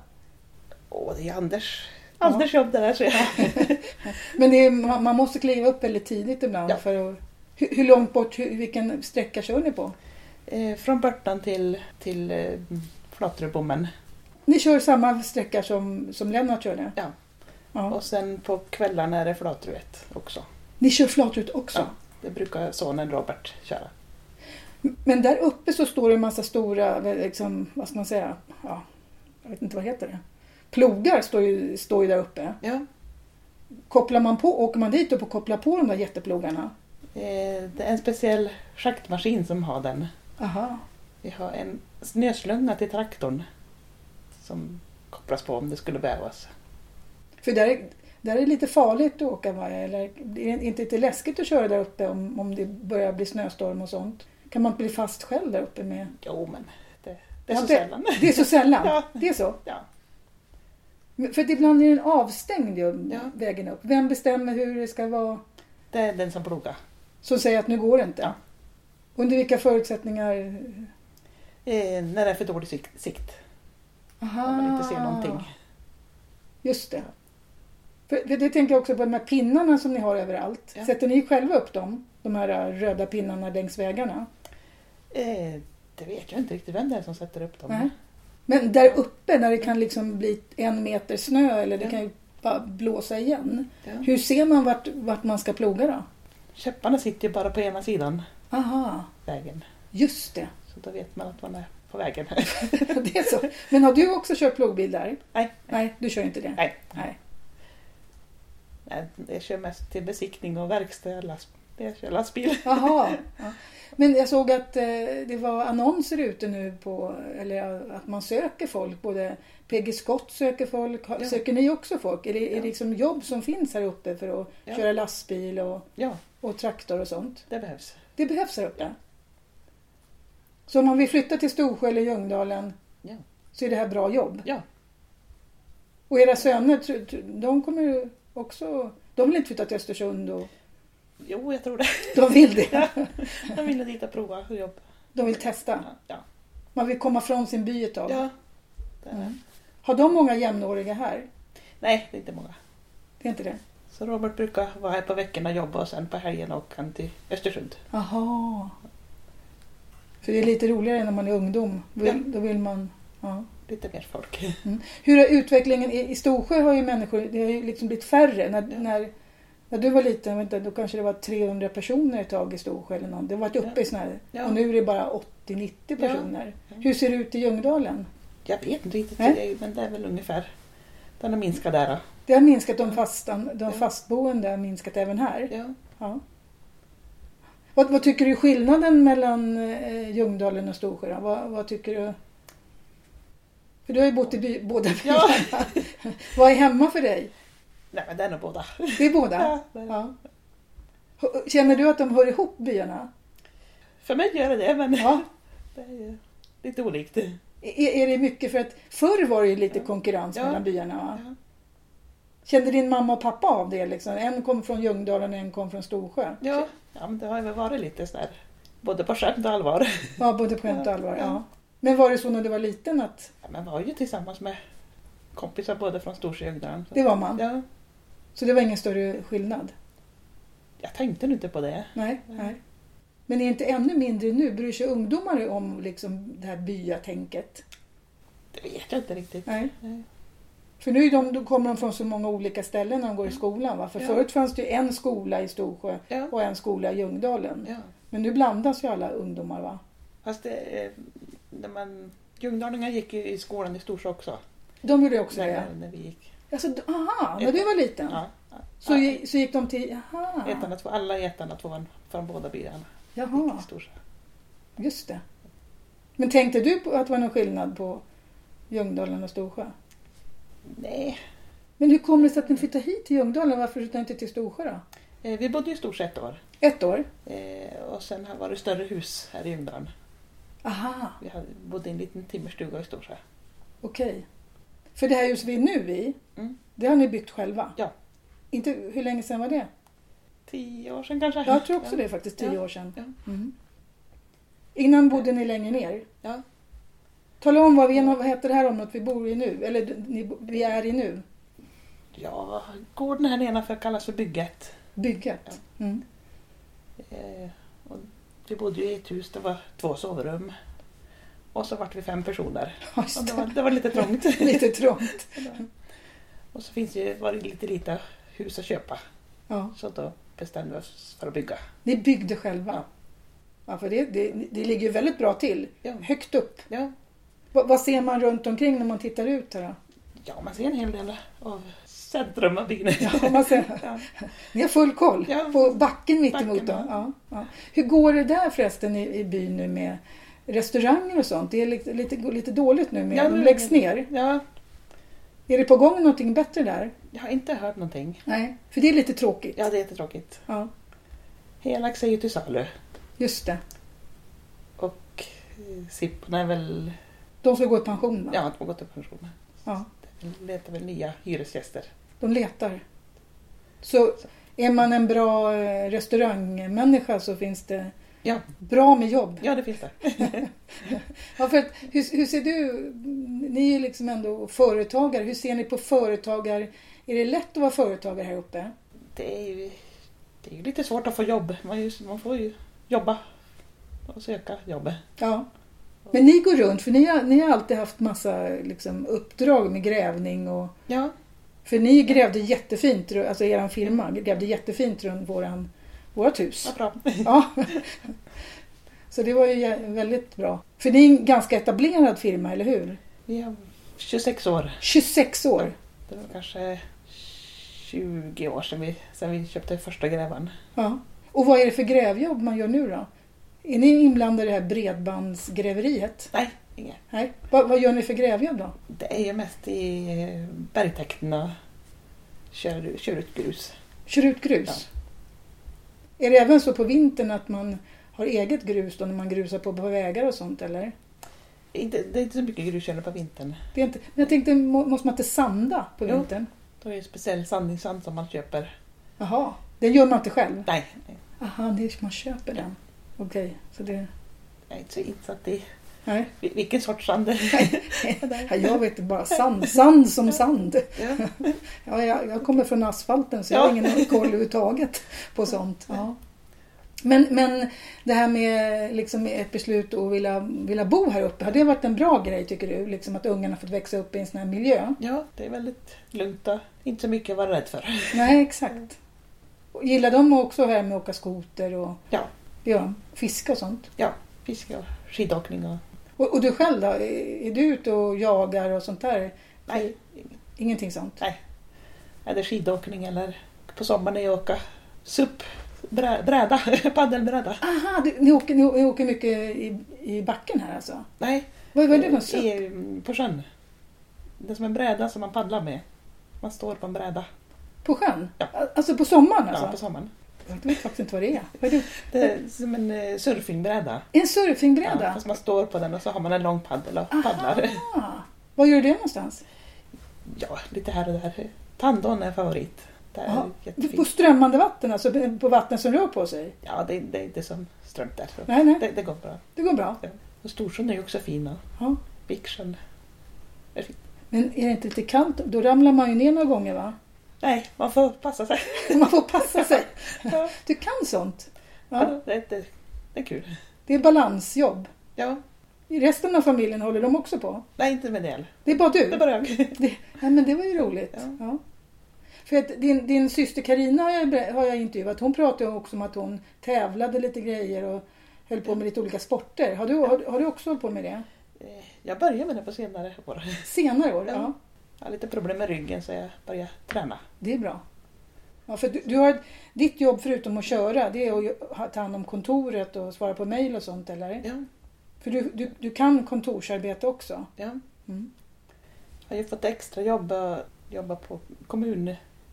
Speaker 2: Åh, det är Anders.
Speaker 1: Ja.
Speaker 2: Anders jobb det där alltså. så jag.
Speaker 1: Men det är, man man måste kliva upp väldigt tidigt ibland.
Speaker 2: Ja.
Speaker 1: För att, hur, hur långt bort, hur, vilken sträcka kör ni på?
Speaker 2: Eh, från Börtan till, till eh, Flatröbommen.
Speaker 1: Ni kör samma sträcka som, som Lennart körde?
Speaker 2: Ja.
Speaker 1: ja.
Speaker 2: Och sen på kvällarna är det Flatruet också.
Speaker 1: Ni kör flatrut också?
Speaker 2: Ja. Det brukar sonen Robert köra.
Speaker 1: Men där uppe så står det en massa stora, liksom, vad ska man säga, ja, jag vet inte vad heter det? Plogar står ju, står ju där uppe.
Speaker 2: Ja.
Speaker 1: Kopplar man på, åker man dit upp och kopplar på de där jätteplogarna?
Speaker 2: Eh, det är en speciell schaktmaskin som har den.
Speaker 1: Aha.
Speaker 2: Vi har en snöslunga till traktorn som kopplas på om det skulle behövas.
Speaker 1: För där, är- där är det lite farligt att åka va? Eller är det inte lite läskigt att köra där uppe om, om det börjar bli snöstorm och sånt? Kan man inte bli fast själv där uppe med?
Speaker 2: Jo, men det, Det är
Speaker 1: Ja,
Speaker 2: så
Speaker 1: det-
Speaker 2: sällan. <laughs>
Speaker 1: Det är så sällan.
Speaker 2: Ja.
Speaker 1: Det är så.
Speaker 2: Ja.
Speaker 1: Men För att ibland är den avstängd ju,
Speaker 2: Ja.
Speaker 1: vägen upp. Vem bestämmer hur det ska vara?
Speaker 2: Det är den som plogar.
Speaker 1: Som säger att nu går det inte.
Speaker 2: Ja.
Speaker 1: Under vilka förutsättningar?
Speaker 2: Eh, när det är för dålig sik- sikt.
Speaker 1: Aha.
Speaker 2: När man inte
Speaker 1: Ah.
Speaker 2: ser någonting.
Speaker 1: Just det. För det, det tänker jag också på de här pinnarna som ni har överallt.
Speaker 2: Ja.
Speaker 1: Sätter ni själva upp dem? De här röda pinnarna längs vägarna?
Speaker 2: Eh, det vet jag inte riktigt vem det är som sätter upp dem.
Speaker 1: Nej. Men där uppe när det kan liksom bli en meter snö eller det
Speaker 2: Ja.
Speaker 1: kan ju bara blåsa igen.
Speaker 2: Ja.
Speaker 1: Hur ser man vart, vart man ska ploga då?
Speaker 2: Käpparna sitter ju bara på ena sidan
Speaker 1: Aha,
Speaker 2: vägen.
Speaker 1: just det. <laughs>
Speaker 2: Så då vet man att man är på vägen. <laughs>
Speaker 1: det är så. Men har du också kört plogbil där?
Speaker 2: Nej.
Speaker 1: Nej, du kör inte det?
Speaker 2: Nej.
Speaker 1: Nej.
Speaker 2: Nej, jag kör mest till besiktning och verkstad. Last, jag kör lastbil.
Speaker 1: Jaha. Ja. Men jag såg att eh, det var annonser ute nu på, eller att man söker folk. Både PG Scott söker folk. Har-
Speaker 2: Ja.
Speaker 1: Söker ni också folk? Är det, är
Speaker 2: Ja.
Speaker 1: det liksom jobb som finns här uppe för att
Speaker 2: Ja.
Speaker 1: köra lastbil och,
Speaker 2: Ja,
Speaker 1: och traktor och sånt?
Speaker 2: det behövs.
Speaker 1: Det behövs här uppe. Så om man vill flytta till Storsjö eller Ljungdalen
Speaker 2: Ja.
Speaker 1: så är det här bra jobb?
Speaker 2: Ja.
Speaker 1: Och era söner, tr- tr- de kommer ju också... De vill inte flytta till Östersund och
Speaker 2: Jo, jag tror det. <laughs>
Speaker 1: de vill det.
Speaker 2: Jag ville dit och prova hur jobb.
Speaker 1: De vill testa.
Speaker 2: Ja.
Speaker 1: Man vill komma från sin by ett tag.
Speaker 2: ja. Det är. det.
Speaker 1: Mm. Har de många jämnåriga här?
Speaker 2: Nej, det är inte många.
Speaker 1: Det är inte det?
Speaker 2: Så Robert brukar vara här på veckorna och jobba och sen på helgen åker han till Östersund.
Speaker 1: Aha. För det är lite roligare när man är ungdom. Vill,
Speaker 2: Ja.
Speaker 1: Då vill man... Ja.
Speaker 2: Lite mer folk. <laughs>
Speaker 1: Hur har utvecklingen... I, I Storsjö har ju människor... Det har ju liksom blivit färre. När,
Speaker 2: Ja.
Speaker 1: när, när du var liten, vänta, då kanske det var 300 personer ett tag i Storsjö eller någon. Det har varit uppe
Speaker 2: Ja.
Speaker 1: i sådana här...
Speaker 2: Ja.
Speaker 1: Och nu är det bara 80-90 personer.
Speaker 2: Ja.
Speaker 1: Hur ser det ut i Ljungdalen?
Speaker 2: Jag vet inte riktigt,
Speaker 1: Nej.
Speaker 2: det är- men det är väl ungefär. Den har minskat där. då.
Speaker 1: Det har minskat de, fastan, de
Speaker 2: Ja.
Speaker 1: fastboende har minskat även här.
Speaker 2: Ja.
Speaker 1: Ja. Vad, vad tycker du är skillnaden mellan eh, Ljungdalen och Storsjö? då? Vad, vad tycker du? För du har ju bott i by, båda byarna.
Speaker 2: Ja.
Speaker 1: vad är hemma för dig?
Speaker 2: Nej, men det är nog båda.
Speaker 1: Det är båda?
Speaker 2: Ja, det är det.
Speaker 1: Ja. H- Känner du att de hör ihop byarna?
Speaker 2: För mig gör det det, men
Speaker 1: Ja.
Speaker 2: <laughs> det är ju lite olikt.
Speaker 1: Är, är det mycket för att förr var det ju lite konkurrens
Speaker 2: Ja.
Speaker 1: mellan byarna? Va?
Speaker 2: Ja.
Speaker 1: Kände din mamma och pappa av det? Liksom? En kom från Ljungdalen och en kom från Storsjö?
Speaker 2: Ja. ja, men det har ju väl varit lite sådär, både på skämt och allvar.
Speaker 1: Ja, både på skämt och
Speaker 2: Ja,
Speaker 1: allvar.
Speaker 2: ja.
Speaker 1: Ja. Men var det så när du var liten att
Speaker 2: Ja, men var ju tillsammans med kompisar både från Storsjö och Ljungdalen. så-
Speaker 1: det var man?
Speaker 2: Ja,
Speaker 1: Så det var ingen större skillnad?
Speaker 2: jag tänkte nog inte på det.
Speaker 1: Nej.
Speaker 2: Nej.
Speaker 1: nej. Men är inte ännu mindre nu? Bryr sig ungdomar om liksom det här byatänket?
Speaker 2: Det vet jag inte riktigt.
Speaker 1: Nej.
Speaker 2: Nej.
Speaker 1: För nu är de, då kommer de från så många olika ställen när de går i skolan. Va? För
Speaker 2: Ja.
Speaker 1: förut fanns det ju en skola i Storsjö
Speaker 2: Ja.
Speaker 1: och en skola i Ljungdalen.
Speaker 2: Ja.
Speaker 1: Men nu blandas ju alla ungdomar. va?
Speaker 2: Fast det, eh, när man, Ljungdalingar gick ju i skolan i Storsjö också.
Speaker 1: De gjorde också det.
Speaker 2: När, när vi gick.
Speaker 1: Alltså, d- aha, när du var liten
Speaker 2: Ja.
Speaker 1: så,
Speaker 2: Ja.
Speaker 1: gi- så gick de till... Aha,
Speaker 2: Ettan och två, alla i ettan och tvåan från båda byarna. Gick
Speaker 1: jaha
Speaker 2: i Storsjö.
Speaker 1: just det. Men tänkte du på att det var någon skillnad på Ljungdalen och Storsjö?
Speaker 2: Nej,
Speaker 1: Men hur kommer det sig att ni flyttade hit till Ljungdalen? Varför flyttade ni inte till Storsjö då?
Speaker 2: eh, vi bodde ju i Storsjö ett år.
Speaker 1: Ett år?
Speaker 2: Eh, och sen har det varit större hus här i Ljungdalen.
Speaker 1: Aha,
Speaker 2: Vi hade, bodde i en liten timmerstuga i Storsjö.
Speaker 1: okej. För det här huset vi är nu i,
Speaker 2: Mm.
Speaker 1: det har ni byggt själva?
Speaker 2: Ja.
Speaker 1: Inte, hur länge sedan var det?
Speaker 2: Tio år sedan kanske?
Speaker 1: Jag tror också
Speaker 2: ja.
Speaker 1: det faktiskt, tio
Speaker 2: Ja.
Speaker 1: år sedan.
Speaker 2: Ja.
Speaker 1: Mm. Innan bodde ni längre ner?
Speaker 2: Ja.
Speaker 1: Tala om vad, vi, vad heter det här området vi bor i nu? Eller d- ni, bo- vi är i nu?
Speaker 2: Ja, gården här nedanför kallas för bygget.
Speaker 1: Bygget? Mm. <laughs>
Speaker 2: Eh, och vi bodde ju i ett hus, det var två sovrum. Och så vart vi fem personer.
Speaker 1: Ja,
Speaker 2: Och
Speaker 1: just
Speaker 2: det,
Speaker 1: det.
Speaker 2: var, det var lite trångt.
Speaker 1: <laughs> Lite trångt.
Speaker 2: och så finns ju, var det lite lite hus att köpa.
Speaker 1: Ja.
Speaker 2: Så då bestämde vi oss för att bygga.
Speaker 1: Ni byggde själva? Ja.
Speaker 2: Ja.
Speaker 1: för det, det, det ligger ju väldigt bra till.
Speaker 2: Ja.
Speaker 1: Högt upp.
Speaker 2: Ja,
Speaker 1: Vad, vad ser man runt omkring när man tittar ut här då?
Speaker 2: ja man ser en hel del av centrum av byn.
Speaker 1: <laughs> Ja, man ser,
Speaker 2: Ja.
Speaker 1: ni har full koll
Speaker 2: Ja.
Speaker 1: på backen mittemot
Speaker 2: Backen,
Speaker 1: då. Ja, ja. Hur går det där förresten i, i byn nu med restauranger och sånt? Det är lite, lite, går lite dåligt nu med
Speaker 2: Ja,
Speaker 1: de
Speaker 2: nu-
Speaker 1: läggs ner.
Speaker 2: Ja,
Speaker 1: Är det på gång någonting bättre där?
Speaker 2: jag har inte hört någonting.
Speaker 1: Nej, för det är lite tråkigt.
Speaker 2: Ja, det är jättetråkigt.
Speaker 1: Ja,
Speaker 2: Helax är ju till salu.
Speaker 1: just det.
Speaker 2: Och eh, Sipporna är väl
Speaker 1: De ska gå i pension va?
Speaker 2: Ja, de har gått i pension. med.
Speaker 1: Ja,
Speaker 2: De letar väl nya hyresgäster.
Speaker 1: De letar. Så är man en bra eh, restaurangmänniska så finns det
Speaker 2: Ja,
Speaker 1: bra med jobb.
Speaker 2: ja det finns det.
Speaker 1: Ja, för att, hur, hur ser du, ni är ju liksom ändå företagare, hur ser ni på företagare? Är det lätt att vara företagare här uppe?
Speaker 2: Det är ju, det är ju lite svårt att få jobb. Man, just, man får ju jobba och söka jobb.
Speaker 1: Ja. Men ni går runt, för ni har, ni har alltid haft massa liksom, uppdrag med grävning och...
Speaker 2: Ja,
Speaker 1: För ni grävde jättefint, ru- alltså er firma grävde jättefint runt våran, vårat hus.
Speaker 2: vad bra.
Speaker 1: Ja. <laughs> Så det var ju jä- väldigt bra. För det är en ganska etablerad firma, eller hur?
Speaker 2: Vi har 26 år.
Speaker 1: 26 år.
Speaker 2: Det var kanske 20 år sedan vi, sedan vi köpte första grävan.
Speaker 1: Ja. Och vad är det för grävjobb man gör nu då? Är ni inblandade i det här bredbandsgräveriet?
Speaker 2: Nej, inget.
Speaker 1: Nej. Vad, vad gör ni för grävjobb då?
Speaker 2: Det är ju mest i bergtäkterna. Kör, kör ut grus.
Speaker 1: Kör ut grus? Är det även så på vintern att man har eget grus då när man grusar på, på vägar och sånt eller?
Speaker 2: Inte, det är inte så mycket gruskörning på vintern.
Speaker 1: Det är inte, men jag tänkte, må- måste man inte sanda på
Speaker 2: Jo.
Speaker 1: vintern?
Speaker 2: Då är det speciell sandningssand som man köper.
Speaker 1: Jaha, den gör man inte själv?
Speaker 2: Nej, nej,
Speaker 1: Aha, det är, man köper den. Okej, så det...
Speaker 2: jag är inte så insatt i
Speaker 1: Nej,
Speaker 2: vil- vilken sorts <laughs> sand det
Speaker 1: Ja, jag vet bara sand, sand som sand.
Speaker 2: är.
Speaker 1: Ja, jag, jag kommer från asfalten så jag har
Speaker 2: Ja.
Speaker 1: ingen koll överhuvudtaget på sånt. Ja. Men, men det här med liksom ett beslut att vilja, vilja bo här uppe, har det varit en bra grej tycker du? Liksom att ungarna fått växa upp i en sån här miljö?
Speaker 2: Ja, det är väldigt lugnt och inte så mycket att vara rädd för.
Speaker 1: Nej, exakt. Och Gillar de också det här med att åka skoter och
Speaker 2: Ja.
Speaker 1: det gör de, fiska och sånt?
Speaker 2: Fiske och skidåkning och...
Speaker 1: Och, och du själv då? Är är du ute och jagar och sånt där?
Speaker 2: Nej,
Speaker 1: Ingenting sånt?
Speaker 2: eller skidåkning eller på sommaren är jag åka SUP, brä, bräda, <laughs> paddelbräda.
Speaker 1: Aha, du, ni, åker, ni, ni åker mycket i, i backen här alltså?
Speaker 2: Nej,
Speaker 1: Vad vad är det för
Speaker 2: i-
Speaker 1: SUP?
Speaker 2: mm, på sjön. Det är som en bräda som man paddlar med. Man står på en bräda
Speaker 1: På sjön?
Speaker 2: Ja.
Speaker 1: Alltså på sommaren alltså?
Speaker 2: ja, på sommaren.
Speaker 1: Jag vet faktiskt inte vad det är. Vad är det?
Speaker 2: Det är som en eh, surfingbräda.
Speaker 1: En
Speaker 2: Ja,
Speaker 1: surfingbräda?
Speaker 2: fast man står på den och så har man en lång paddel och
Speaker 1: Aha.
Speaker 2: paddlar. <laughs>
Speaker 1: Var gör du det någonstans?
Speaker 2: Ja, lite här och där. Tandon är favorit. Det är
Speaker 1: Jaha. På
Speaker 2: jättefint.
Speaker 1: strömmande vatten, alltså på vatten som rör på sig?
Speaker 2: Ja, det, det är inte som strömt där. Så
Speaker 1: Nej, nej,
Speaker 2: det, det går bra.
Speaker 1: det går bra.
Speaker 2: Och Storsjön är ju också fin. och
Speaker 1: Ja.
Speaker 2: Viksjön.
Speaker 1: Men är det inte lite kallt, då ramlar man ju ner några gånger va?
Speaker 2: Nej, man får passa sig.
Speaker 1: <laughs> Man får passa sig.
Speaker 2: Ja.
Speaker 1: Du kan sånt. Ja.
Speaker 2: Ja, det, det, det är kul.
Speaker 1: Det är balansjobb.
Speaker 2: Ja,
Speaker 1: I Resten av familjen håller de också på.
Speaker 2: nej inte med del.
Speaker 1: Det är bara
Speaker 2: Det
Speaker 1: du.
Speaker 2: är bara jag. <laughs>
Speaker 1: Ja, men det var ju roligt. Ja.
Speaker 2: Ja.
Speaker 1: För att din, din syster Karina har jag, ber- har jag intervjuat. Hon pratade också om att hon tävlade lite grejer och höll på med lite olika sporter. Har du, har, har du också hållit på med det?
Speaker 2: Eh, Jag började med det på senare år.
Speaker 1: Senare år? Ja.
Speaker 2: Ja. Jag har lite problem med ryggen så jag började träna.
Speaker 1: det är bra. Ja, för du, du har, ditt jobb förutom att köra, det är att ju- ha- ta hand om kontoret och svara på mejl och sånt eller?
Speaker 2: Ja,
Speaker 1: För du, du, du kan kontorsarbete också?
Speaker 2: ja.
Speaker 1: Mm.
Speaker 2: Jag har ju fått extra jobb och jobba på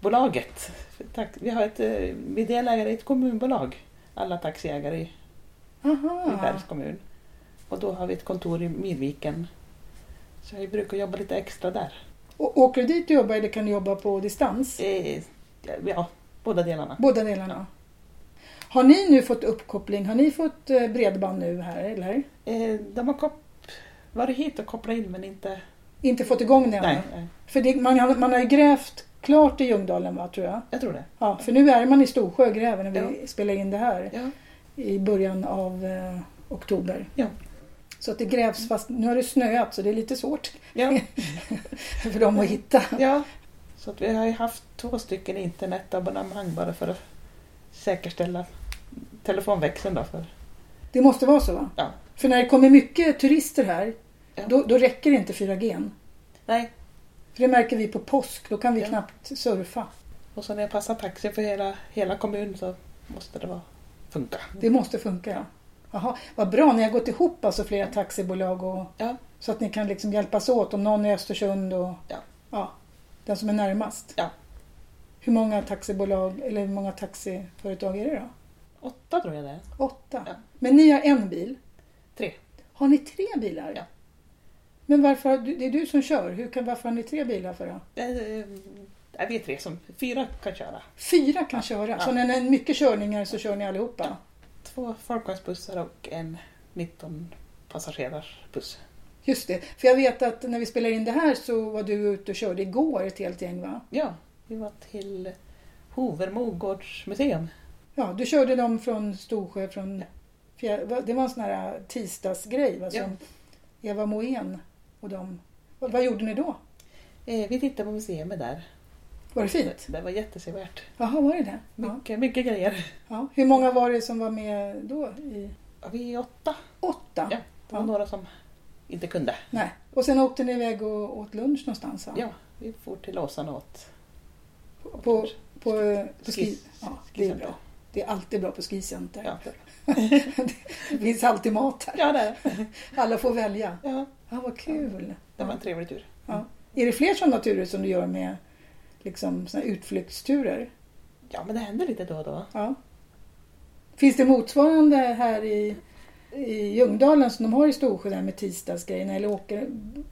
Speaker 2: kommunbolaget. För tax- Vi, har ett, eh, vi är delägare i ett kommunbolag, alla taxiägare i i
Speaker 1: Aha.
Speaker 2: Bergs kommun. Och då har vi ett kontor i Midviken. Så jag brukar jobba lite extra där.
Speaker 1: Och, åker du dit och jobbar eller kan du jobba på distans?
Speaker 2: Eh, Ja, båda delarna.
Speaker 1: Båda delarna. Har ni nu fått uppkoppling? Har ni fått eh, bredband nu här eller?
Speaker 2: Eh, De har kop- varit hit och kopplat in men inte...
Speaker 1: Inte fått igång det än?
Speaker 2: Nej, nej,
Speaker 1: För det, man, har- man har ju grävt klart i Ljungdalen va, tror jag?
Speaker 2: jag tror det.
Speaker 1: Ja, för nu är man i Storsjö och gräver när vi spelar in det här
Speaker 2: Ja,
Speaker 1: i början av eh, oktober.
Speaker 2: Ja.
Speaker 1: Så att det grävs fast nu har det snöat så det är lite svårt <laughs>
Speaker 2: ja,
Speaker 1: för dem att hitta.
Speaker 2: ja. Så att vi har ju haft två stycken internetabonnemang bara för att säkerställa telefonväxeln. Då för.
Speaker 1: Det måste vara så va?
Speaker 2: Ja.
Speaker 1: För när det kommer mycket turister här
Speaker 2: Ja.
Speaker 1: då, då räcker inte 4G.
Speaker 2: Nej,
Speaker 1: För det märker vi på påsk, då kan vi
Speaker 2: Ja.
Speaker 1: knappt surfa.
Speaker 2: och så när jag passar taxi för hela, hela kommunen så måste det vara, funka.
Speaker 1: Det måste funka. Ja. Jaha, vad bra, ni har gått ihop alltså flera taxibolag och,
Speaker 2: Ja.
Speaker 1: så att ni kan liksom hjälpas åt om någon är i Östersund och
Speaker 2: Ja.
Speaker 1: den som är närmast.
Speaker 2: Ja.
Speaker 1: Hur många taxibolag eller hur många taxiföretag är det då?
Speaker 2: Åtta tror jag det är.
Speaker 1: Åtta.
Speaker 2: Ja.
Speaker 1: Men ni har en bil.
Speaker 2: Tre.
Speaker 1: Har ni tre bilar?
Speaker 2: Ja.
Speaker 1: Men varför, har du- det är du som kör, Hur kan, varför har ni tre bilar för då?
Speaker 2: Eh, eh, vi är tre som, fyra kan köra.
Speaker 1: Fyra kan köra, så
Speaker 2: Ja.
Speaker 1: när det är mycket körningar så kör ni allihopa?
Speaker 2: Två folkvagnsbussar och en 19 passagerarbuss.
Speaker 1: Just det, för jag vet att när vi spelar in det här så var du ute och körde igår ett helt gäng va?
Speaker 2: Ja, vi var till Hovermo gårdsmuseum.
Speaker 1: Ja, du körde dem från Storsjö från... fjär- va- Det var en sån här äh, tisdagsgrej va? Som Eva Moen och de... Vad, vad gjorde ni då?
Speaker 2: Eh, vi tittade på museet där.
Speaker 1: Var det fint?
Speaker 2: Det, det var jättesevärt.
Speaker 1: Jaha, var det det? Ja.
Speaker 2: Mycket, mycket grejer.
Speaker 1: ja. Hur många var det som var med då? I...
Speaker 2: Ja, Vi är åtta.
Speaker 1: Åtta?
Speaker 2: Ja. Det var
Speaker 1: Ja.
Speaker 2: några som inte kunde.
Speaker 1: Nej. Och sen åkte ni iväg och åt lunch någonstans va?
Speaker 2: Ja, vi for till Åsarna åt.
Speaker 1: På, på, på, på ski...
Speaker 2: Skis-
Speaker 1: Ja, det är bra. Det är alltid bra på skicenter.
Speaker 2: Ja,
Speaker 1: Det finns alltid mat här.
Speaker 2: ja det, är det.
Speaker 1: Alla får välja.
Speaker 2: ja,
Speaker 1: Ja, vad kul!
Speaker 2: det var
Speaker 1: Ja.
Speaker 2: en trevlig tur.
Speaker 1: Är det fler sådana turer som du gör med liksom, såna här utflyktsturer?
Speaker 2: Ja, men det händer lite då och då.
Speaker 1: Ja. Finns det motsvarande här i, i Ljungdalen som de har i Storsjö där med tisdagsgrejerna? Eller åker,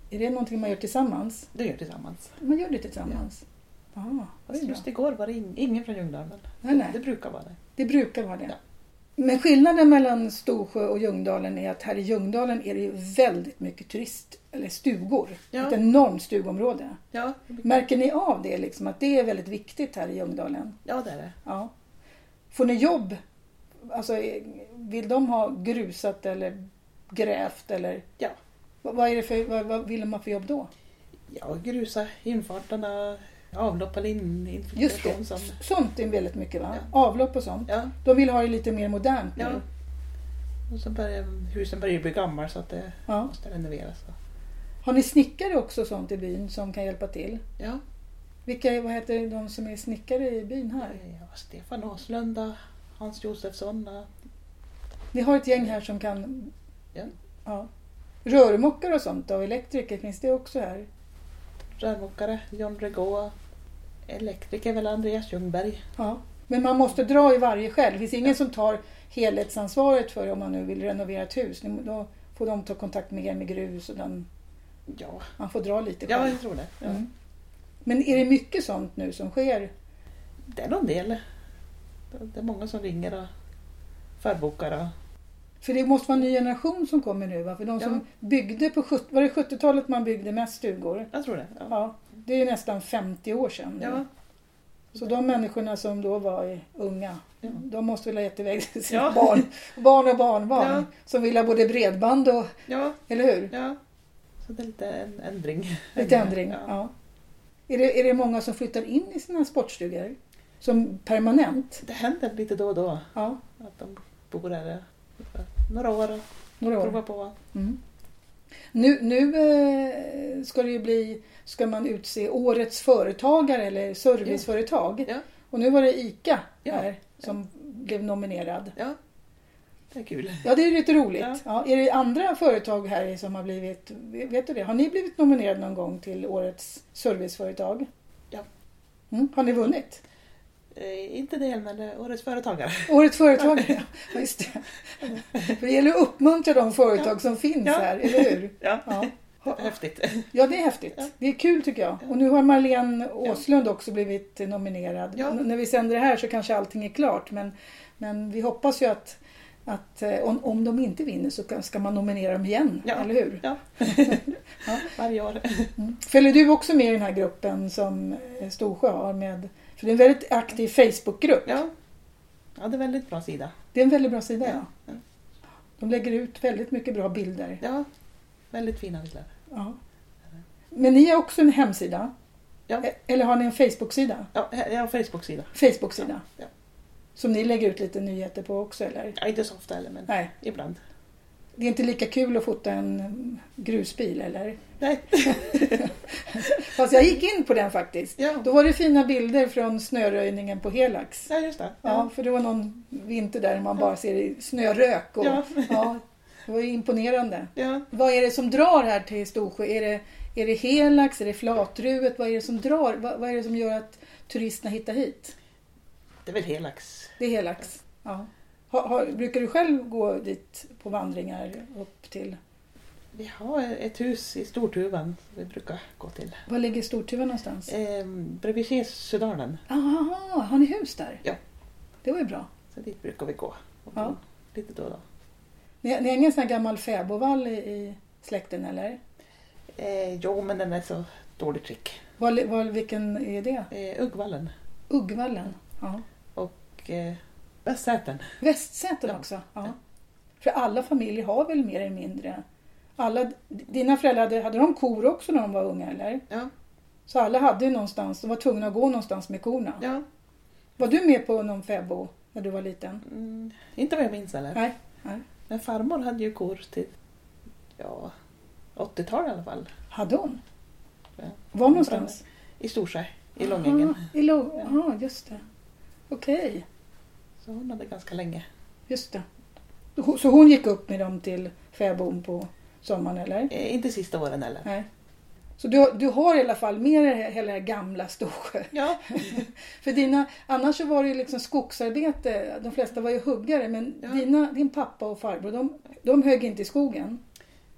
Speaker 1: är det någonting man gör tillsammans?
Speaker 2: Det gör vi tillsammans.
Speaker 1: Man gör det tillsammans? Ja. Ah, det,
Speaker 2: Fast
Speaker 1: är bra.
Speaker 2: just igår var det in, ingen från Ljungdalen.
Speaker 1: Nej, nej.
Speaker 2: Det brukar vara det.
Speaker 1: det brukar vara det.
Speaker 2: Ja.
Speaker 1: Men skillnaden mellan Storsjö och Ljungdalen är att här i Ljungdalen är det ju väldigt mycket turist, eller stugor.
Speaker 2: Ja.
Speaker 1: Ett enormt stugområde.
Speaker 2: Ja,
Speaker 1: Märker ni av det, liksom, att det är väldigt viktigt här i Ljungdalen?
Speaker 2: ja det är det.
Speaker 1: Ja. Får ni jobb? Alltså, eh, vill de ha grusat eller grävt eller?
Speaker 2: Ja.
Speaker 1: Vad, vad, är det för, vad, vad vill man för jobb då?
Speaker 2: Ja, grusa infarterna, avlopp eller in,
Speaker 1: Just det.
Speaker 2: infiltration som...
Speaker 1: Sånt är väldigt mycket va? Avlopp och sånt.
Speaker 2: Ja,
Speaker 1: De vill ha det lite mer modernt nu.
Speaker 2: ja. Och så börjar husen börjar ju bli gamla så att det
Speaker 1: Ja.
Speaker 2: måste renoveras. då.
Speaker 1: Har ni snickare också och sånt i byn som kan hjälpa till?
Speaker 2: Ja,
Speaker 1: Vilka är- vad heter de som är snickare i byn här?
Speaker 2: ja Stefan Åslunda, Hans Josefsson. eh,
Speaker 1: Ni har ett gäng här som kan...
Speaker 2: Ja.
Speaker 1: ja. Rörmokare och sånt då? Elektriker, finns det också här?
Speaker 2: rörmokare, John Regaud, elektriker väl Andreas Ljungberg.
Speaker 1: Ja, men man måste dra i varje själv. Det finns ingen som tar helhetsansvaret för om man nu vill renovera ett hus. Nu- Då får de ta kontakt med er med grus och den,
Speaker 2: Ja,
Speaker 1: man får dra lite
Speaker 2: ja
Speaker 1: själv.
Speaker 2: jag tror det. Ja.
Speaker 1: Mm. Men är det mycket sånt nu som sker?
Speaker 2: Det är någon del. Det är många som ringer och förbokar. Och...
Speaker 1: För det måste vara en ny generation som kommer nu va? För de som byggde på 70, var det 70-talet man byggde mest stugor?
Speaker 2: Jag tror det. Ja.
Speaker 1: Ja, det är ju nästan 50 år sedan. nu.
Speaker 2: Ja.
Speaker 1: Så de människorna som då var i- unga,
Speaker 2: Ja.
Speaker 1: de måste väl ha gett iväg <laughs> sina
Speaker 2: Ja.
Speaker 1: barn, barn och barnbarn
Speaker 2: Ja.
Speaker 1: som vill ha både bredband och,
Speaker 2: Ja.
Speaker 1: eller hur?
Speaker 2: ja. Så det är lite en ändring.
Speaker 1: Lite ändring, ja.
Speaker 2: Ja.
Speaker 1: Är, det, är det många som flyttar in i sina sportstugor? Som permanent?
Speaker 2: Det händer lite då och då
Speaker 1: Ja,
Speaker 2: att de bor där några år och
Speaker 1: några år.
Speaker 2: provar på.
Speaker 1: Mm. Nu, nu eh, ska det ju bli, ska man utse årets företagare eller serviceföretag.
Speaker 2: Ja.
Speaker 1: Och nu var det ICA
Speaker 2: Ja.
Speaker 1: här som blev nominerad.
Speaker 2: Ja. Det är kul.
Speaker 1: Ja, det är ju lite roligt. Ja.
Speaker 2: Ja.
Speaker 1: är det andra företag här som har blivit, vet du det? Har ni blivit nominerade någon gång till årets serviceföretag?
Speaker 2: Ja.
Speaker 1: Mm. Har ni vunnit?
Speaker 2: Eh, inte det, men eh, årets företagare.
Speaker 1: Årets företagare, ja just det. För det gäller att uppmuntra de företag som finns
Speaker 2: Ja.
Speaker 1: här, eller hur?
Speaker 2: Ja.
Speaker 1: Ja.
Speaker 2: Häftigt.
Speaker 1: ja, det är häftigt.
Speaker 2: Ja.
Speaker 1: Det är kul tycker jag. Och nu har Marlene Åslund också blivit nominerad.
Speaker 2: Ja.
Speaker 1: N- När vi sänder det här så kanske allting är klart men, men vi hoppas ju att, att eh, om, om de inte vinner så kan- ska man nominera dem igen,
Speaker 2: Ja.
Speaker 1: eller hur?
Speaker 2: Ja.
Speaker 1: Ja.
Speaker 2: Varje år.
Speaker 1: Mm. Följer du också med i den här gruppen som eh, Storsjö har med? För det är en väldigt aktiv Facebookgrupp.
Speaker 2: Ja. ja, det är väldigt bra sida.
Speaker 1: Det är en väldigt bra sida. Ja.
Speaker 2: Ja.
Speaker 1: De lägger ut väldigt mycket bra bilder.
Speaker 2: Ja, väldigt fina bilder.
Speaker 1: Ja. Men ni har också en hemsida?
Speaker 2: Ja.
Speaker 1: E- Eller har ni en Facebook-sida?
Speaker 2: Ja, jag har Facebook-sida.
Speaker 1: Facebook-sida?
Speaker 2: Ja, ja.
Speaker 1: Som ni lägger ut lite nyheter på också eller?
Speaker 2: Ja, inte så ofta heller, men
Speaker 1: Nej,
Speaker 2: ibland.
Speaker 1: det är inte lika kul att fota en mm, grusbil eller?
Speaker 2: Nej.
Speaker 1: Fast jag gick in på den faktiskt.
Speaker 2: Ja,
Speaker 1: Då var det fina bilder från snöröjningen på Helax.
Speaker 2: ja just det.
Speaker 1: Ja, för det var någon vinter där man bara ser snörök. Och, ja.
Speaker 2: ja.
Speaker 1: det var ju imponerande.
Speaker 2: ja.
Speaker 1: Vad är det som drar här till Storsjö? Är det, är det Helax? Är det Flatruet? Vad är det som drar? Vad, vad är det som gör att turisterna hittar hit?
Speaker 2: Det är väl Helax.
Speaker 1: Det är Helax. Ja. Har, har, brukar du själv gå dit på vandringar upp till?
Speaker 2: Vi har ett hus i Stortuvan vi brukar gå till.
Speaker 1: Var ligger Stortuva någonstans?
Speaker 2: Eh, bredvid Kesedalen.
Speaker 1: Aha, har ni hus där?
Speaker 2: Ja.
Speaker 1: Det var ju bra.
Speaker 2: Så dit brukar vi gå. Och
Speaker 1: Ja.
Speaker 2: då- Lite då och då.
Speaker 1: Ni, ni har ingen sån här gammal fäbodvall i, i släkten eller?
Speaker 2: Eh, jo, men den är så dåligt skick.
Speaker 1: Var, var, vilken är det?
Speaker 2: Eh, Uggvallen
Speaker 1: Uggvallen? Ja.
Speaker 2: och eh, Västsäten.
Speaker 1: Västsäten
Speaker 2: Ja.
Speaker 1: också?
Speaker 2: Ja.
Speaker 1: Ja. För alla familjer har väl mer eller mindre? Alla, dina föräldrar, hade, hade de kor också när de var unga eller?
Speaker 2: Ja.
Speaker 1: Så alla hade ju någonstans, de var tvungna att gå någonstans med korna.
Speaker 2: ja.
Speaker 1: Var du med på någon fäbod när du var liten?
Speaker 2: Mm, inte vad jag minns eller.
Speaker 1: Nej, nej.
Speaker 2: Men farmor hade ju kor till ja, 80-tal i alla fall.
Speaker 1: Hade hon?
Speaker 2: Ja.
Speaker 1: Var någonstans?
Speaker 2: I Storsjö, i Långängen.
Speaker 1: Aha, I Lång... Aha, just det. Okej,
Speaker 2: Så hon hade ganska länge.
Speaker 1: just det. Ho- Så hon gick upp med dem till fäbon på sommaren eller?
Speaker 2: Eh, inte sista åren heller.
Speaker 1: Nej. Så du, du har i alla fall med dig hela det här gamla Storsjö.
Speaker 2: Ja,
Speaker 1: För dina, annars så var det ju liksom skogsarbete, de flesta var ju huggare men
Speaker 2: Ja.
Speaker 1: dina, din pappa och farbror de, de högg inte i skogen,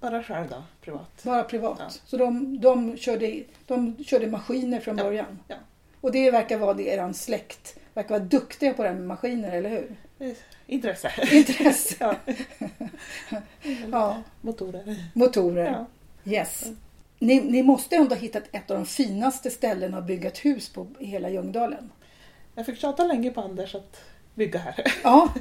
Speaker 2: bara själv då, privat.
Speaker 1: bara privat.
Speaker 2: Ja.
Speaker 1: Så de, de, körde, de körde maskiner från
Speaker 2: Ja.
Speaker 1: början.
Speaker 2: Ja.
Speaker 1: Och det verkar vara det, eran släkt verkar vara duktiga på det här med maskiner, eller hur? <laughs>
Speaker 2: Eh, Intresse.
Speaker 1: Intresse.
Speaker 2: <laughs> ja.
Speaker 1: Ja,
Speaker 2: Motorer.
Speaker 1: motorer.
Speaker 2: Ja.
Speaker 1: Yes. Ni, ni måste ändå ha hittat ett av de finaste ställena att bygga ett hus på i hela Ljungdalen.
Speaker 2: Jag fick tjata länge på Anders att bygga här.
Speaker 1: Ja,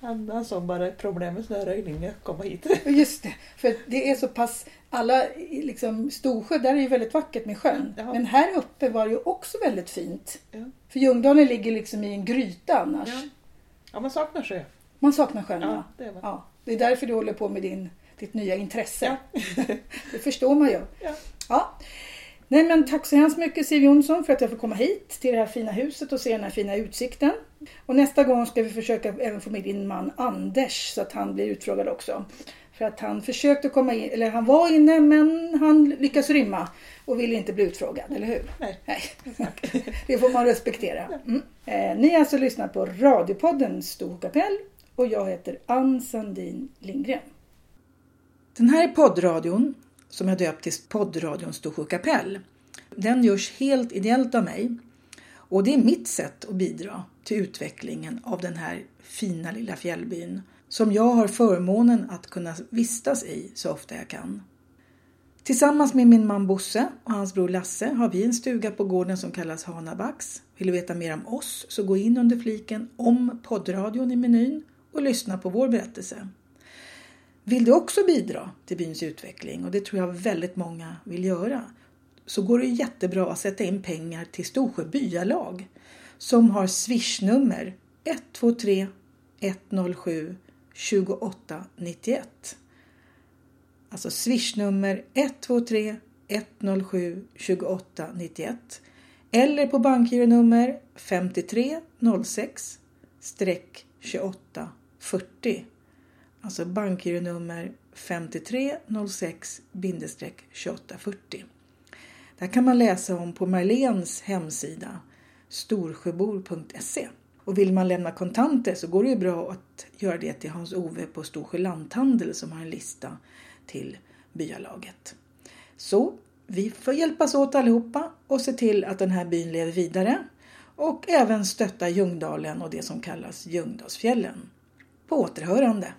Speaker 2: Han, han såg bara ett problem med snöröjning när jag kom hit.
Speaker 1: Och Just det, för det är så pass, alla i- liksom Storsjö, där är ju väldigt vackert med sjön.
Speaker 2: Ja.
Speaker 1: Men här uppe var det ju också väldigt fint.
Speaker 2: Ja.
Speaker 1: För Ljungdalen ligger liksom i en gryta annars.
Speaker 2: Ja. ja, man saknar sjö.
Speaker 1: Man saknar sjön ja.
Speaker 2: Ja, det är man.
Speaker 1: ja. Det är därför du håller på med din, ditt nya intresse.
Speaker 2: Ja.
Speaker 1: <laughs> det förstår man ju.
Speaker 2: Ja.
Speaker 1: Ja. Nej men tack så hemskt mycket Siv Jonsson för att jag får komma hit till det här fina huset och se den här fina utsikten. Och nästa gång ska vi försöka även få med din man Anders så att han blir utfrågad också. För att han försökte komma in, eller han var inne men han lyckas rymma och vill inte bli utfrågad, eller hur?
Speaker 2: Nej.
Speaker 1: Nej. <laughs> Det får man respektera. Mm. Eh, ni har alltså lyssnat på radiopodden Stor kapell och jag heter Ann Sandin Lindgren. Den här poddradion, som jag döpt till poddradion Storsjö kapell, den görs helt ideellt av mig. Och det är mitt sätt att bidra till utvecklingen av den här fina lilla fjällbyn som jag har förmånen att kunna vistas i så ofta jag kan. Tillsammans med min man Bosse och hans bror Lasse har vi en stuga på gården som kallas Hanabacks. Vill du veta mer om oss så gå in under fliken om poddradion i menyn och lyssna på vår berättelse. Vill du också bidra till byns utveckling och det tror jag väldigt många vill göra så går det jättebra att sätta in pengar till Storsjö byalag som har swishnummer 123 107 2891. Alltså swishnummer 123 107 2891 eller på bankgironummer 5306 28 40 Alltså bankgironummer 5306 2840. Det här kan man läsa om på Marlens hemsida storsjöbor.se. Och vill man lämna kontanter så går det ju bra att göra det till Hans-Ove på Storsjö lanthandel som har en lista till byalaget. Så vi får hjälpas åt allihopa och se till att den här byn lever vidare och även stötta Ljungdalen och det som kallas Ljungdalsfjällen. På återhörande!